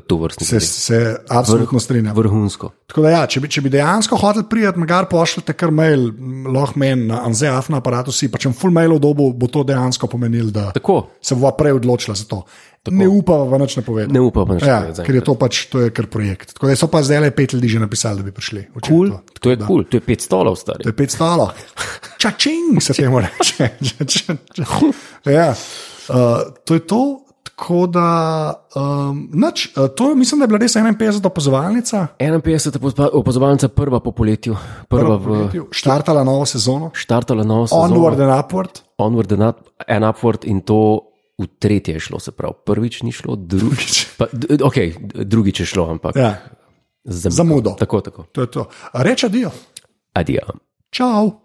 Speaker 1: to vrstnih
Speaker 2: se, se absolutno strinjam.
Speaker 1: Vrhunsko.
Speaker 2: Tako da, ja, če, bi, če bi dejansko hotel priti, magar pošljete kar mail, m, lahko meni na Anzeaf na aparatu, si pa če bom full mailov dobo, bo to dejansko pomenilo, da
Speaker 1: Tako,
Speaker 2: se bova prej odločila za to. Tako. Ne upava v nič napovedati.
Speaker 1: ne upam, da
Speaker 2: Ja,
Speaker 1: je
Speaker 2: ker je to pač to je kar projekt. Tako da so pa zdaj le pet ljudi že napisali, da bi prišli. Včeraj
Speaker 1: kul.
Speaker 2: To.
Speaker 1: To je kul, cool. to je pet stolov
Speaker 2: To
Speaker 1: stari.
Speaker 2: je pet stalo. Čačing se temu reče. Ča- ča- ča- ja. uh, to je to. Tako da, um, nač, uh, to mislim, da je bila res 51 opazovalnica.
Speaker 1: 51 opazovalnica, prva po poletju, prva, prva v
Speaker 2: podjetju, štartala novo sezono,
Speaker 1: štartala novo sezono.
Speaker 2: onward and upward.
Speaker 1: Onward and up, and upward in to v tretje je šlo, se pravi. Prvič ni šlo, drugič. Pa, d- ok, drugič je šlo, ampak
Speaker 2: Ja,
Speaker 1: z zamudo.
Speaker 2: zamudo.
Speaker 1: Tako, tako.
Speaker 2: to je to. Reče dio.
Speaker 1: Adijo.
Speaker 2: Čau.